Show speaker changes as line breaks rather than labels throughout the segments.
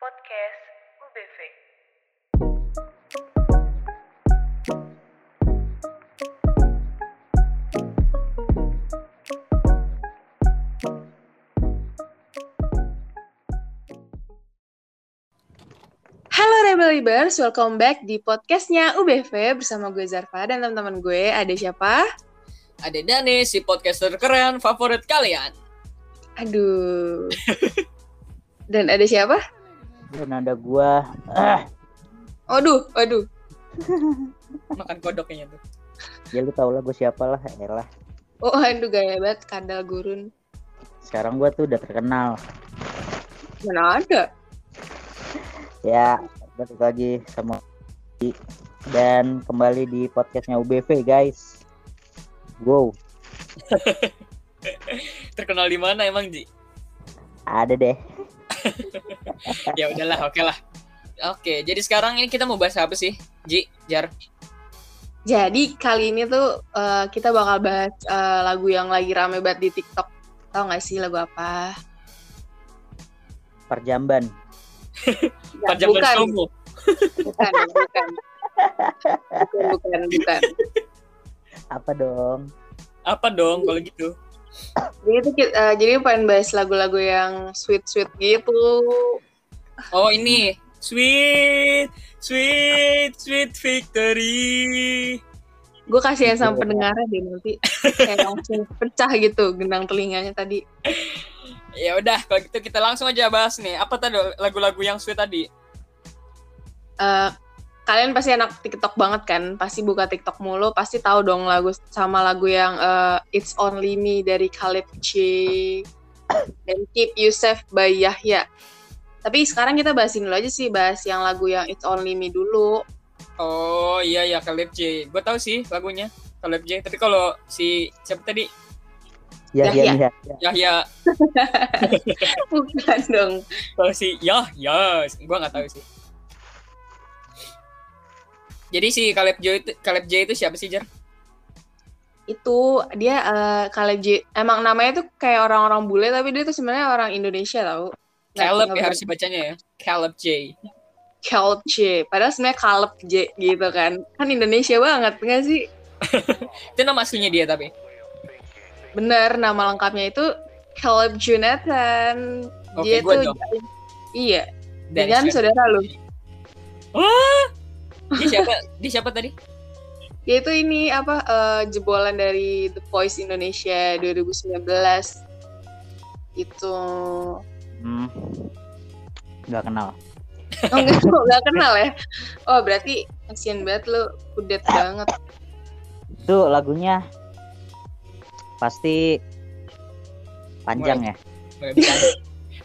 Podcast UBV.
Halo Rebelibers, welcome back di podcastnya UBV bersama gue Zarfa dan teman-teman gue ada siapa?
ada Dani, si podcaster keren favorit kalian.
Aduh. dan ada siapa?
Dan ada gua. Ah,
Waduh, waduh.
Makan kodoknya tuh.
ya lu tau lah gua siapa lah, elah.
Oh, aduh gaya banget kandal gurun.
Sekarang gua tuh udah terkenal.
Mana ada?
Ya, balik lagi sama Di. dan kembali di podcastnya UBV guys. Wow,
Terkenal di mana emang Ji?
ada deh.
Ya udahlah, oke lah. Oke, jadi sekarang ini kita mau bahas apa sih? Ji, Jar.
Jadi kali ini tuh eh, kita bakal bahas eh, lagu yang lagi rame banget di TikTok. Tau gak sih lagu apa?
Perjamban.
Ya,
Perjamban
bukan,
kamu.
bukan, bukan. Bukan, bukan, bukan.
Apa dong?
Apa dong kalau gitu?
Jadi, tuh kita- eh, jadi pengen bahas lagu-lagu yang sweet-sweet gitu.
Oh ini, sweet, sweet, sweet victory.
gue kasihan sama
Gitu.
pendengarnya deh nanti kayak langsung pecah gitu genang telinganya tadi
Ya udah, kalau gitu kita langsung aja bahas nih. Apa tadi lagu-lagu yang sweet tadi?
Eh, kalian pasti anak TikTok banget kan pasti buka TikTok mulu pasti tahu dong lagu sama lagu yang eh, It's Only Me dari Caleb C dan Keep You Safe by Yahya tapi sekarang kita bahasin dulu aja sih bahas yang lagu yang It's Only Me dulu
Oh iya ya Caleb J. Gue tahu sih lagunya Caleb J. Tapi kalau si siapa tadi?
Ya,
Ya,
ya, ya. ya.
Yahya.
bukan dong
Kalau si ya ya, gue nggak tahu sih. Jadi si Caleb J itu Caleb J itu siapa sih Jar?
itu dia eh, Caleb J emang namanya tuh kayak orang-orang bule tapi dia tuh sebenarnya orang Indonesia tau Nggak-
Caleb
nggak
ya harus dibacanya ya. Caleb J.
Caleb J. Padahal sebenarnya Caleb J gitu kan. Kan Indonesia banget nggak sih?
Itu nama aslinya dia tapi.
Bener, nama lengkapnya itu Caleb Jonathan.
Oke,
dia
gua
tuh
dong.
Iya,
Dan
dengan saudara lu.
Dia siapa? Dia siapa tadi?
Dia itu ini apa eh, jebolan dari The Voice Indonesia 2019. Itu
Hmm. Gak kenal.
oh, enggak, kok nggak kenal ya. Oh, berarti kasihan banget lu, kudet banget.
Tuh lagunya pasti panjang ya.
Nggak bercanda.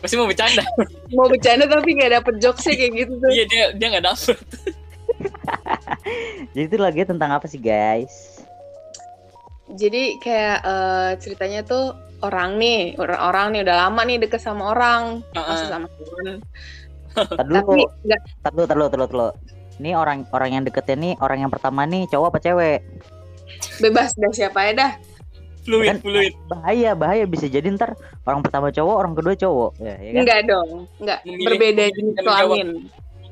Pasti mau bercanda.
Mau bercanda tapi nggak dapet jokesnya kayak gitu tuh.
Iya dia dia nggak dapet.
Jadi itu lagunya tentang apa sih guys?
jadi kayak eh, ceritanya tuh orang nih orang, orang nih udah lama nih deket sama orang masih sama temen
Tadi
tapi
dulu,
nggak
tadi dulu, tadi dulu, tadi dulu. Ini orang orang yang deketnya nih orang yang pertama nih cowok apa cewek?
bebas dah siapa ya dah
Fluid
Kan-
fluid.
bahaya bahaya bisa jadi ntar orang pertama cowok orang kedua cowok ya, ya kan?
enggak dong enggak
Memilih-
berbeda
memilih
jenis
dan menjawab.
kelamin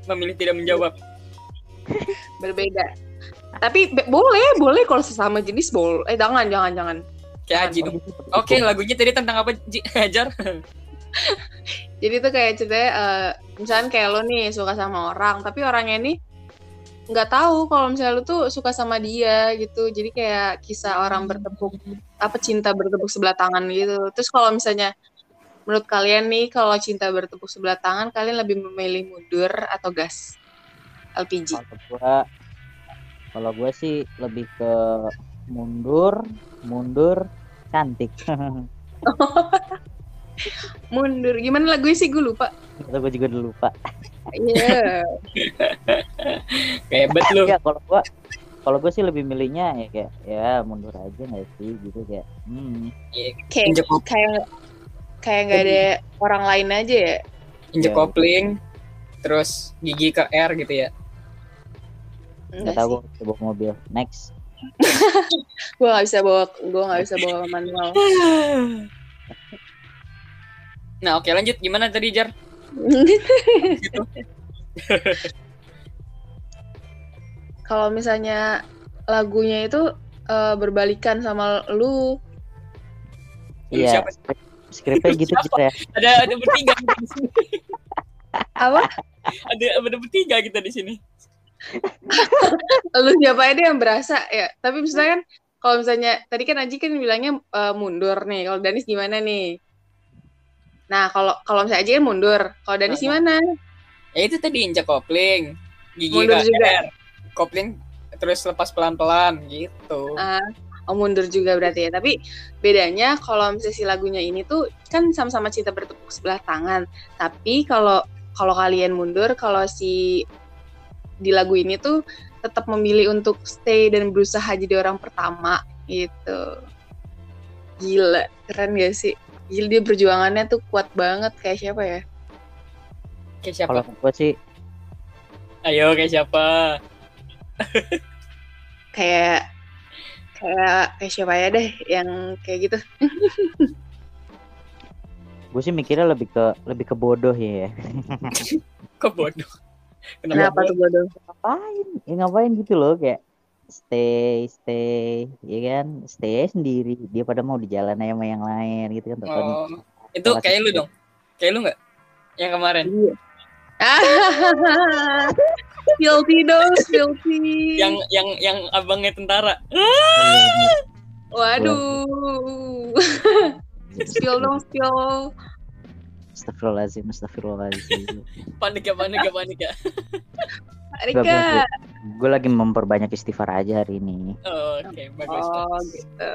Memilih tidak menjawab.
Iya. berbeda tapi be- boleh boleh kalau sesama jenis boleh eh jangan jangan jangan
Kayak Haji dong.
gitu,
Oke lagunya tadi tentang apa Ji? Jar?
jadi tuh kayak ceritanya eh, misalnya kayak lo nih suka sama orang tapi orangnya ini nggak tahu kalau misalnya lu tuh suka sama dia gitu jadi kayak kisah orang bertepuk apa cinta bertepuk sebelah tangan gitu terus kalau misalnya menurut kalian nih kalau cinta bertepuk sebelah tangan kalian lebih memilih mundur atau gas LPG
kalau gua kalau gua sih lebih ke mundur mundur cantik
mundur gimana lagunya sih gue lupa
itu gua juga udah lupa
iya
Kayak bet lu.
ya kalau gua kalau gua sih lebih milihnya ya kayak ya mundur aja nggak sih gitu kayak hmm
kayak
Injek kop-
kayak kayak nggak ada orang lain aja ya
injek
Ya.
kopling. Terus gigi ke R gitu ya.
nggak tahu gua coba mobil next
gue nggak bisa bawa gue nggak bisa bawa manual
Nah oke lanjut gimana tadi Jar?
Kalau misalnya lagunya itu eh, berbalikan sama lu,
Lu
Iya.
siapa?
skrip- Skripnya
Lu
gitu
siapa?
gitu ya.
Ada ada bertiga kita di sini.
apa?
Ada ada bertiga kita di sini.
lu siapa aja yang berasa ya? Tapi misalnya kan kalau misalnya tadi kan Aji kan bilangnya eh, mundur nih. Kalau Danis gimana nih? Nah, kalau kalau misalnya Aji kan mundur. Kalau Danis
Nah,
gimana?
Ya itu tadi injak kopling, gigi
Mundur
KR,
juga.
kopling terus lepas pelan-pelan gitu.
Ah, oh, mundur juga berarti ya. Tapi bedanya kalau misalnya si lagunya ini tuh kan sama-sama cinta bertepuk sebelah tangan. Tapi kalau kalau kalian mundur, kalau si di lagu ini tuh tetap memilih untuk stay dan berusaha jadi orang pertama gitu. Gila, keren gak sih? Gila dia perjuangannya tuh kuat banget kayak siapa ya?
Kayak siapa?
Kalau gue sih
Ayo kayak siapa?
Kayak kayak kayak siapa ya deh yang kayak gitu.
gue sih mikirnya lebih ke lebih ke bodoh ya.
Kok bodoh? Kenapa?
Kenapa tuh bodoh?
Ngapain? Ya ngapain gitu loh kayak stay stay ya kan stay aja sendiri dia pada mau di jalan aja sama yang lain gitu kan tau-tau nih.
Oh, itu kayak lu dong. Kayak lu nggak? Yang kemarin,
Ah, guilty dong, guilty.
yang yang yang abangnya tentara.
Iya,
Waduh. Spill dong, spill.
Astagfirullahaladzim, astagfirullahaladzim.
Panik ya, panik ya, panik ya.
Rika.
gue lagi memperbanyak istighfar aja hari ini.
Oh, Oke, bagus.
Oh,
bagus.
gitu.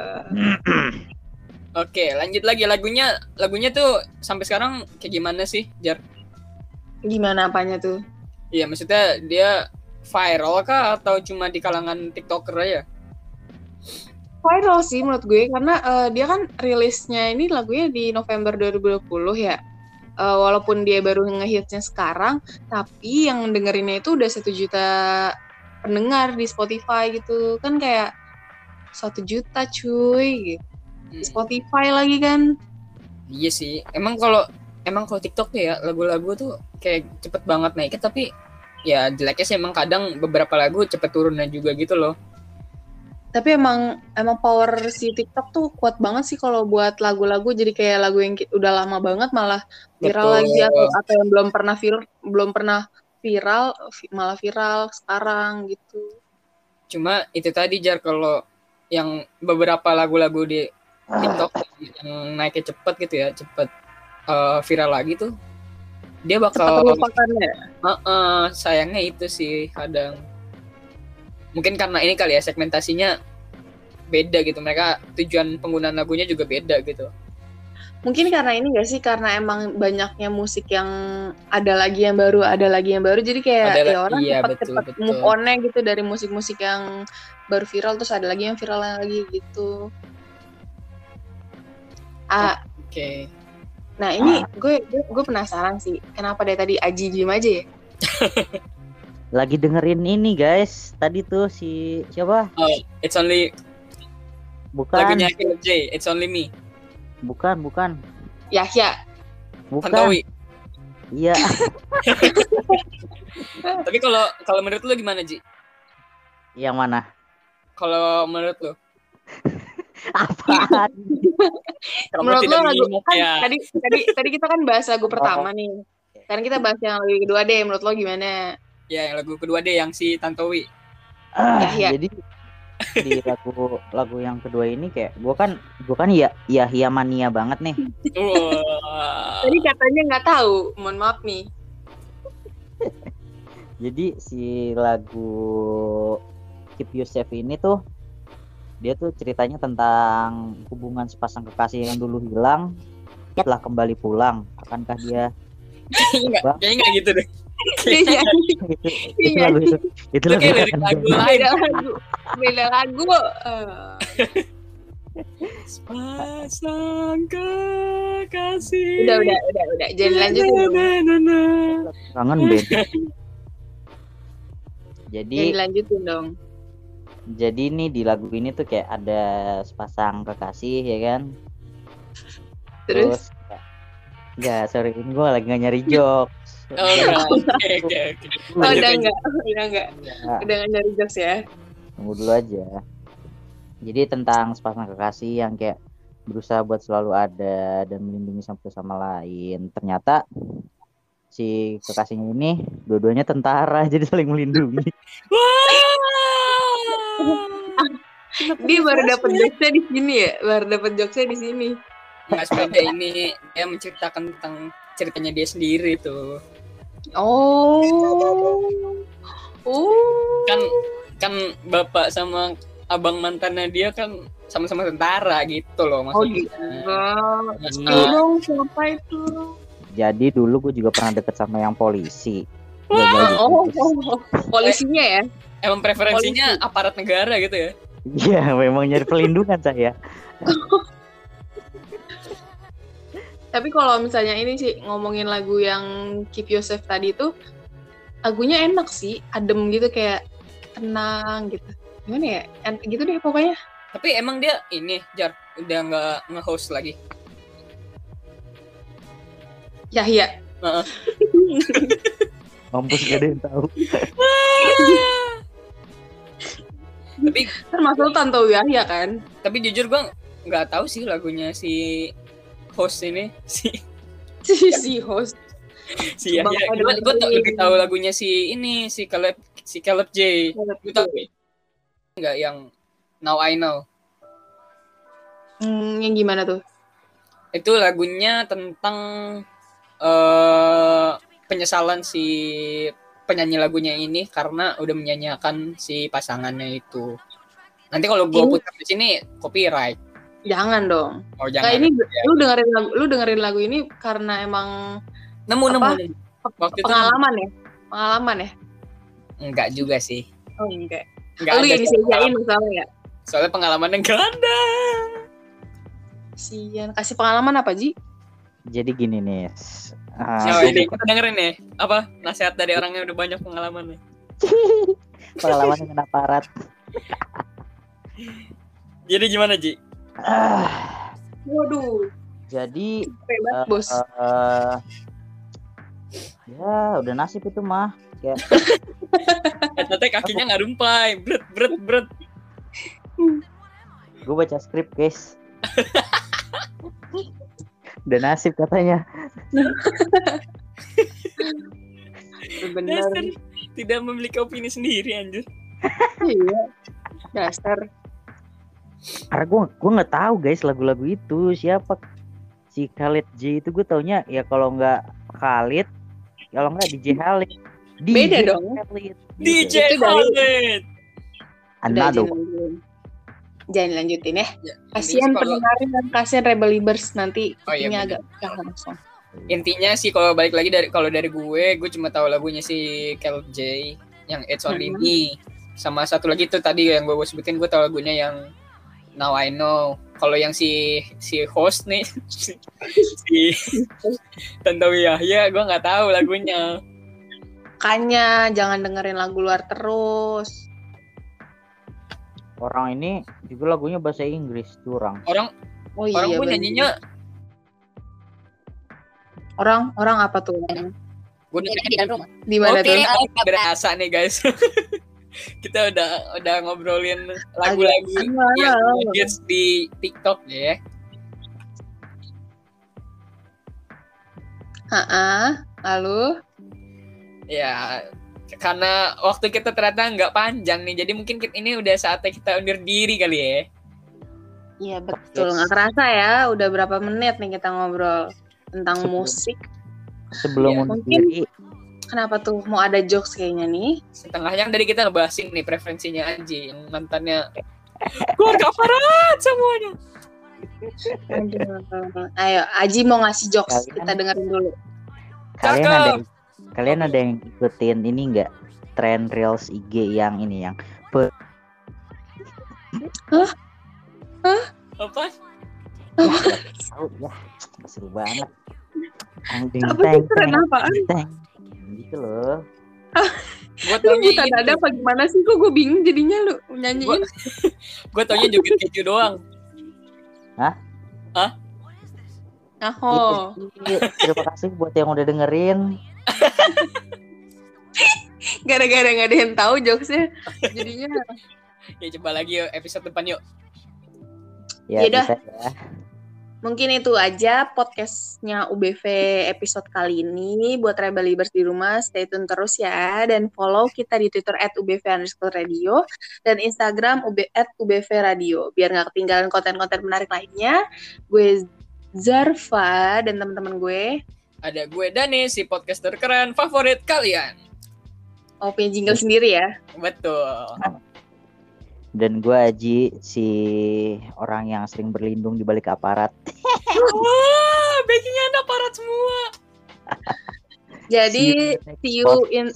Oke, lanjut lagi lagunya. Lagunya tuh sampai sekarang kayak gimana sih, Jar?
Gimana apanya tuh?
Iya, maksudnya dia viral kah atau cuma di kalangan TikToker aja?
Viral sih menurut gue karena eh, dia kan rilisnya ini lagunya di November 2020 ya. Eh, walaupun dia baru ngehitsnya sekarang, tapi yang dengerinnya itu udah satu juta pendengar di Spotify gitu. Kan kayak satu juta cuy gitu. Di
Hmm.
Spotify lagi kan.
Iya sih. Emang kalau emang kalau TikTok tuh ya lagu-lagu tuh kayak cepet banget naiknya tapi ya jeleknya sih emang kadang beberapa lagu cepet turunnya juga gitu loh.
tapi emang emang power si TikTok tuh kuat banget sih kalau buat lagu-lagu jadi kayak lagu yang ki- udah lama banget malah viral
Betul.
lagi atau atau yang belum pernah viral belum pernah viral vi- malah viral sekarang gitu
Cuma itu tadi jar kalau yang beberapa lagu-lagu di TikTok yang naiknya cepet gitu ya, cepet eh, viral lagi tuh dia
cepat
bakal
terlupakan ya
Heeh, sayangnya itu sih kadang mungkin karena ini kali ya segmentasinya beda gitu mereka tujuan penggunaan lagunya juga beda gitu
mungkin karena ini gak sih karena emang banyaknya musik yang ada lagi yang baru ada lagi yang baru jadi kayak
Ada
ya
la-
orang
iya,
cepat-cepat
betul,
move
betul.
on gitu dari musik-musik yang baru viral terus ada lagi yang viral lagi gitu ah
oke
Nah ini gue, gue gue penasaran sih kenapa dari tadi Aji diem aja ya?
Lagi dengerin ini guys, tadi tuh si siapa?
Oh, it's only
Bukan,
lagunya Akil J, it's only me.
bukan, bukan,
Yahya.
bukan.
Tantowi.
Iya,
Tapi kalau kalau menurut lu gimana, Ji?
yang mana?
Kalau menurut lu? Kenapa
Apaan?
Eh, Menurut
tidak
lo lagu
menyimak
kan
ya?
tadi tadi tadi kita kan bahas lagu pertama nih. Sekarang kita bahas yang lagu kedua deh. Menurut lo gimana?
Ya, yang lagu kedua deh yang si Tantowi.
Ah,
Yahya.
Jadi di lagu lagu yang kedua ini kayak gua kan gua kan ya Yahya mania banget nih.
Wah.
Tadi katanya nggak tahu. Mohon maaf nih.
Jadi si lagu Keep You Safe ini tuh dia tuh ceritanya tentang hubungan sepasang kekasih yang dulu hilang telah kembali pulang. Akankah dia
Enggak, kayaknya enggak gitu deh.
Iya.
itu, itu lagu itu itu
Itu
lagu
kayak lirik lagu lain.
Beda lagu. Beda lagu. Eh,
Pasang kekasih.
udah udah udah udah. Jangan
Iya,
lanjutin.
Na, na, na, na.
kangen Ben. Jadi
Jangan lanjutin dong.
jadi nih di lagu ini tuh kayak ada sepasang kekasih ya kan
Terus
kayak Enggak, sorry, ini gue lagi gak nyari jokes.
Oh, enggak. Oke, oke, oke.
Iya. Oh, udah
Lanjut aja.
enggak, udah enggak,
Enggak,
udah enggak nyari jokes ya.
tunggu dulu aja. Jadi tentang sepasang kekasih yang kayak berusaha buat selalu ada dan melindungi satu sama lain. Ternyata si kekasihnya ini dua-duanya tentara jadi saling melindungi.
Wah.
Dia baru dapat jokesnya di sini ya, baru dapat jokesnya di sini.
Mas Beda ini dia menceritakan tentang ceritanya dia sendiri tuh.
Oh, oh,
Kan kan bapak sama abang mantannya dia kan sama-sama tentara gitu
oh
loh maksudnya.
gitu.
Mas,
Iya.
Itu
ah,
dong siapa itu?
Jadi dulu gue juga pernah deket sama yang polisi. Gagal gitu.
Oh, oh, oh. polisinya ya?
emang preferensinya aparat negara gitu ya.
Iya, memang nyari pelindungan saya.
Tapi kalau misalnya ini sih ngomongin lagu yang Keep Yourself tadi itu lagunya enak sih, adem gitu kayak tenang gitu. Gimana ya? En- Gitu deh pokoknya.
Tapi emang dia ini jar udah nggak nge-host lagi.
Ya iya.
Heeh.
Mampus gak ada yang tahu.
tapi
Termasuk Tanto Yahya kan?
tapi jujur gua nggak tahu sih lagunya si host ini si
Si, si host.
si ya,
Bang
ya.
Ade
Gua, gua tau-
Baduy.
lebih tahu lagunya si ini si Caleb si Caleb J. Gua tahu nggak yang Now I Know.
Hmm, yang gimana tuh?
Itu lagunya tentang eh penyesalan si penyanyi lagunya ini karena udah menyanyiakan si pasangannya itu. Nanti kalau gua
Ini-
putar di sini copyright.
Jangan dong. Nah,
Oh jangan.
ini
Ya.
lu dengerin lagu, lu dengerin lagu ini karena emang
nemu
apa?
nemu.
pe-
Waktu itu- kan
pengalaman ya? Pengalaman ya?
Enggak juga sih.
Oh enggak.
Enggak
lu
ada
yang
sih
disediain masalah ya?
pengalaman. Soalnya pengalamannya enggak ada.
Sian. Kasih pengalaman apa, Ji?
Jadi gini nih. ah,
Siapa
gua
ini?
bukan-
Dengerin nih. Apa? Nasihat dari orang yang udah banyak pengalaman nih.
pengalaman dengan aparat.
Jadi gimana, Ji?
Ah,
Waduh,
jadi
hebat,
eh,
Bos.
eh, ya udah nasib itu mah.
Ternyata kakinya nggak rumpai. Bret, bret, bret.
Gue baca skrip, guys. udah nasib katanya.
Bener.
Dasar. Tidak memiliki opini sendiri, anjir.
Gitu. Iya. Dasar.
Karena gue gue nggak tahu guys lagu-lagu itu siapa si Khalid J itu gue taunya ya kalau nggak Khalid, kalau nggak DJ Khalid.
Beda dong.
Khalid.
DJ
Itu dari-
Khaled.
Udah,
Another
jangan lanjutin. Jangan lanjutin ya.
Ya,
Kasihan
intinya sih kalau-
pendengarin dan kasihan rebelibers nanti
Oh, iya,
kupingnya
bener.
agak pecah langsung.
Intinya sih kalau balik lagi dari kalau dari gue, gue cuma tahu lagunya si Caleb J yang It's Only
Mhm.
Me. Sama satu lagi itu tadi yang gue sebutin, gue tahu lagunya yang Now I Know. Kalau yang si si host nih si, si Tantowi Yahya, gue nggak tahu lagunya.
Makanya jangan dengerin lagu luar terus.
orang ini juga lagunya bahasa Inggris curang
Orang
Oh
orang
iya.
gue
bener.
nyanyinya
orang orang apa tuh? Orang?
gue nyanyinya Iya, di dalam rumah.
Di mana
Oke,
tuh?
agak berasa nih guys. Kita udah udah ngobrolin lagu-lagu yang
Agak-
hits di TikTok ya.
Ah, lalu
Ya, karena waktu kita ternyata nggak panjang nih, jadi mungkin kit- ini udah saatnya kita undur diri kali ya.
Iya betul, nggak kerasa ya. Udah berapa menit nih kita ngobrol tentang
Sebelum-
musik.
sebelum
Iya,
undur
mungkin.
diri
Kenapa tuh mau ada jokes kayaknya nih?
Setengahnya tadi kita ngebahasin nih preferensinya Anji yang mantannya keluarga Farad semuanya.
Aduh. Ayo, Aji mau ngasih jokes.
Kalian-
Kita dengerin dulu.
kalian
Cakep.
ada kalian ada yang ikutin ini enggak tren reels IG yang ini yang
Apa?
tahu ya seru banget Tang, ding,
Apa
teng,
sih tren
teng,
apaan?
teng. gitu loh
Gue
Lu
taunya
buta
ini-
dada apa gimana sih? Kok gue bingung jadinya lu nyanyiin?
Gua taunya joget keju doang.
Oh,
Gitu sih. Terima kasih buat yang udah dengerin.
gara-gara nggak ada yang tahu jokesnya, jadinya
Ya coba lagi yuk, episode depan yuk.
Ya,
Yaudah.
bisa ya.
Mungkin itu aja podcastnya UBV episode kali ini. Buat Rebelibers di rumah, stay tune terus ya. Dan follow kita di Twitter at UBV underscore radio. Dan Instagram UB, at UBV radio. Biar nggak ketinggalan konten-konten menarik lainnya. Gue Zarfa dan teman-teman gue.
Ada gue Dani, si podcaster keren favorit kalian.
Oh, punya jingle sendiri ya.
Betul.
Dan gue Aji, si orang yang sering berlindung di balik aparat.
Wah, backingnya ada parat semua.
Jadi, see you in...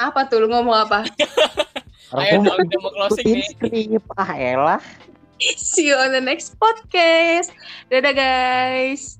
Apa tuh? Lu ngomong apa?
Ayo,
Orang
udah udah mau closing
ikutin
nih.
skrip. Ah, elah.
see you on the next podcast. Dadah guys.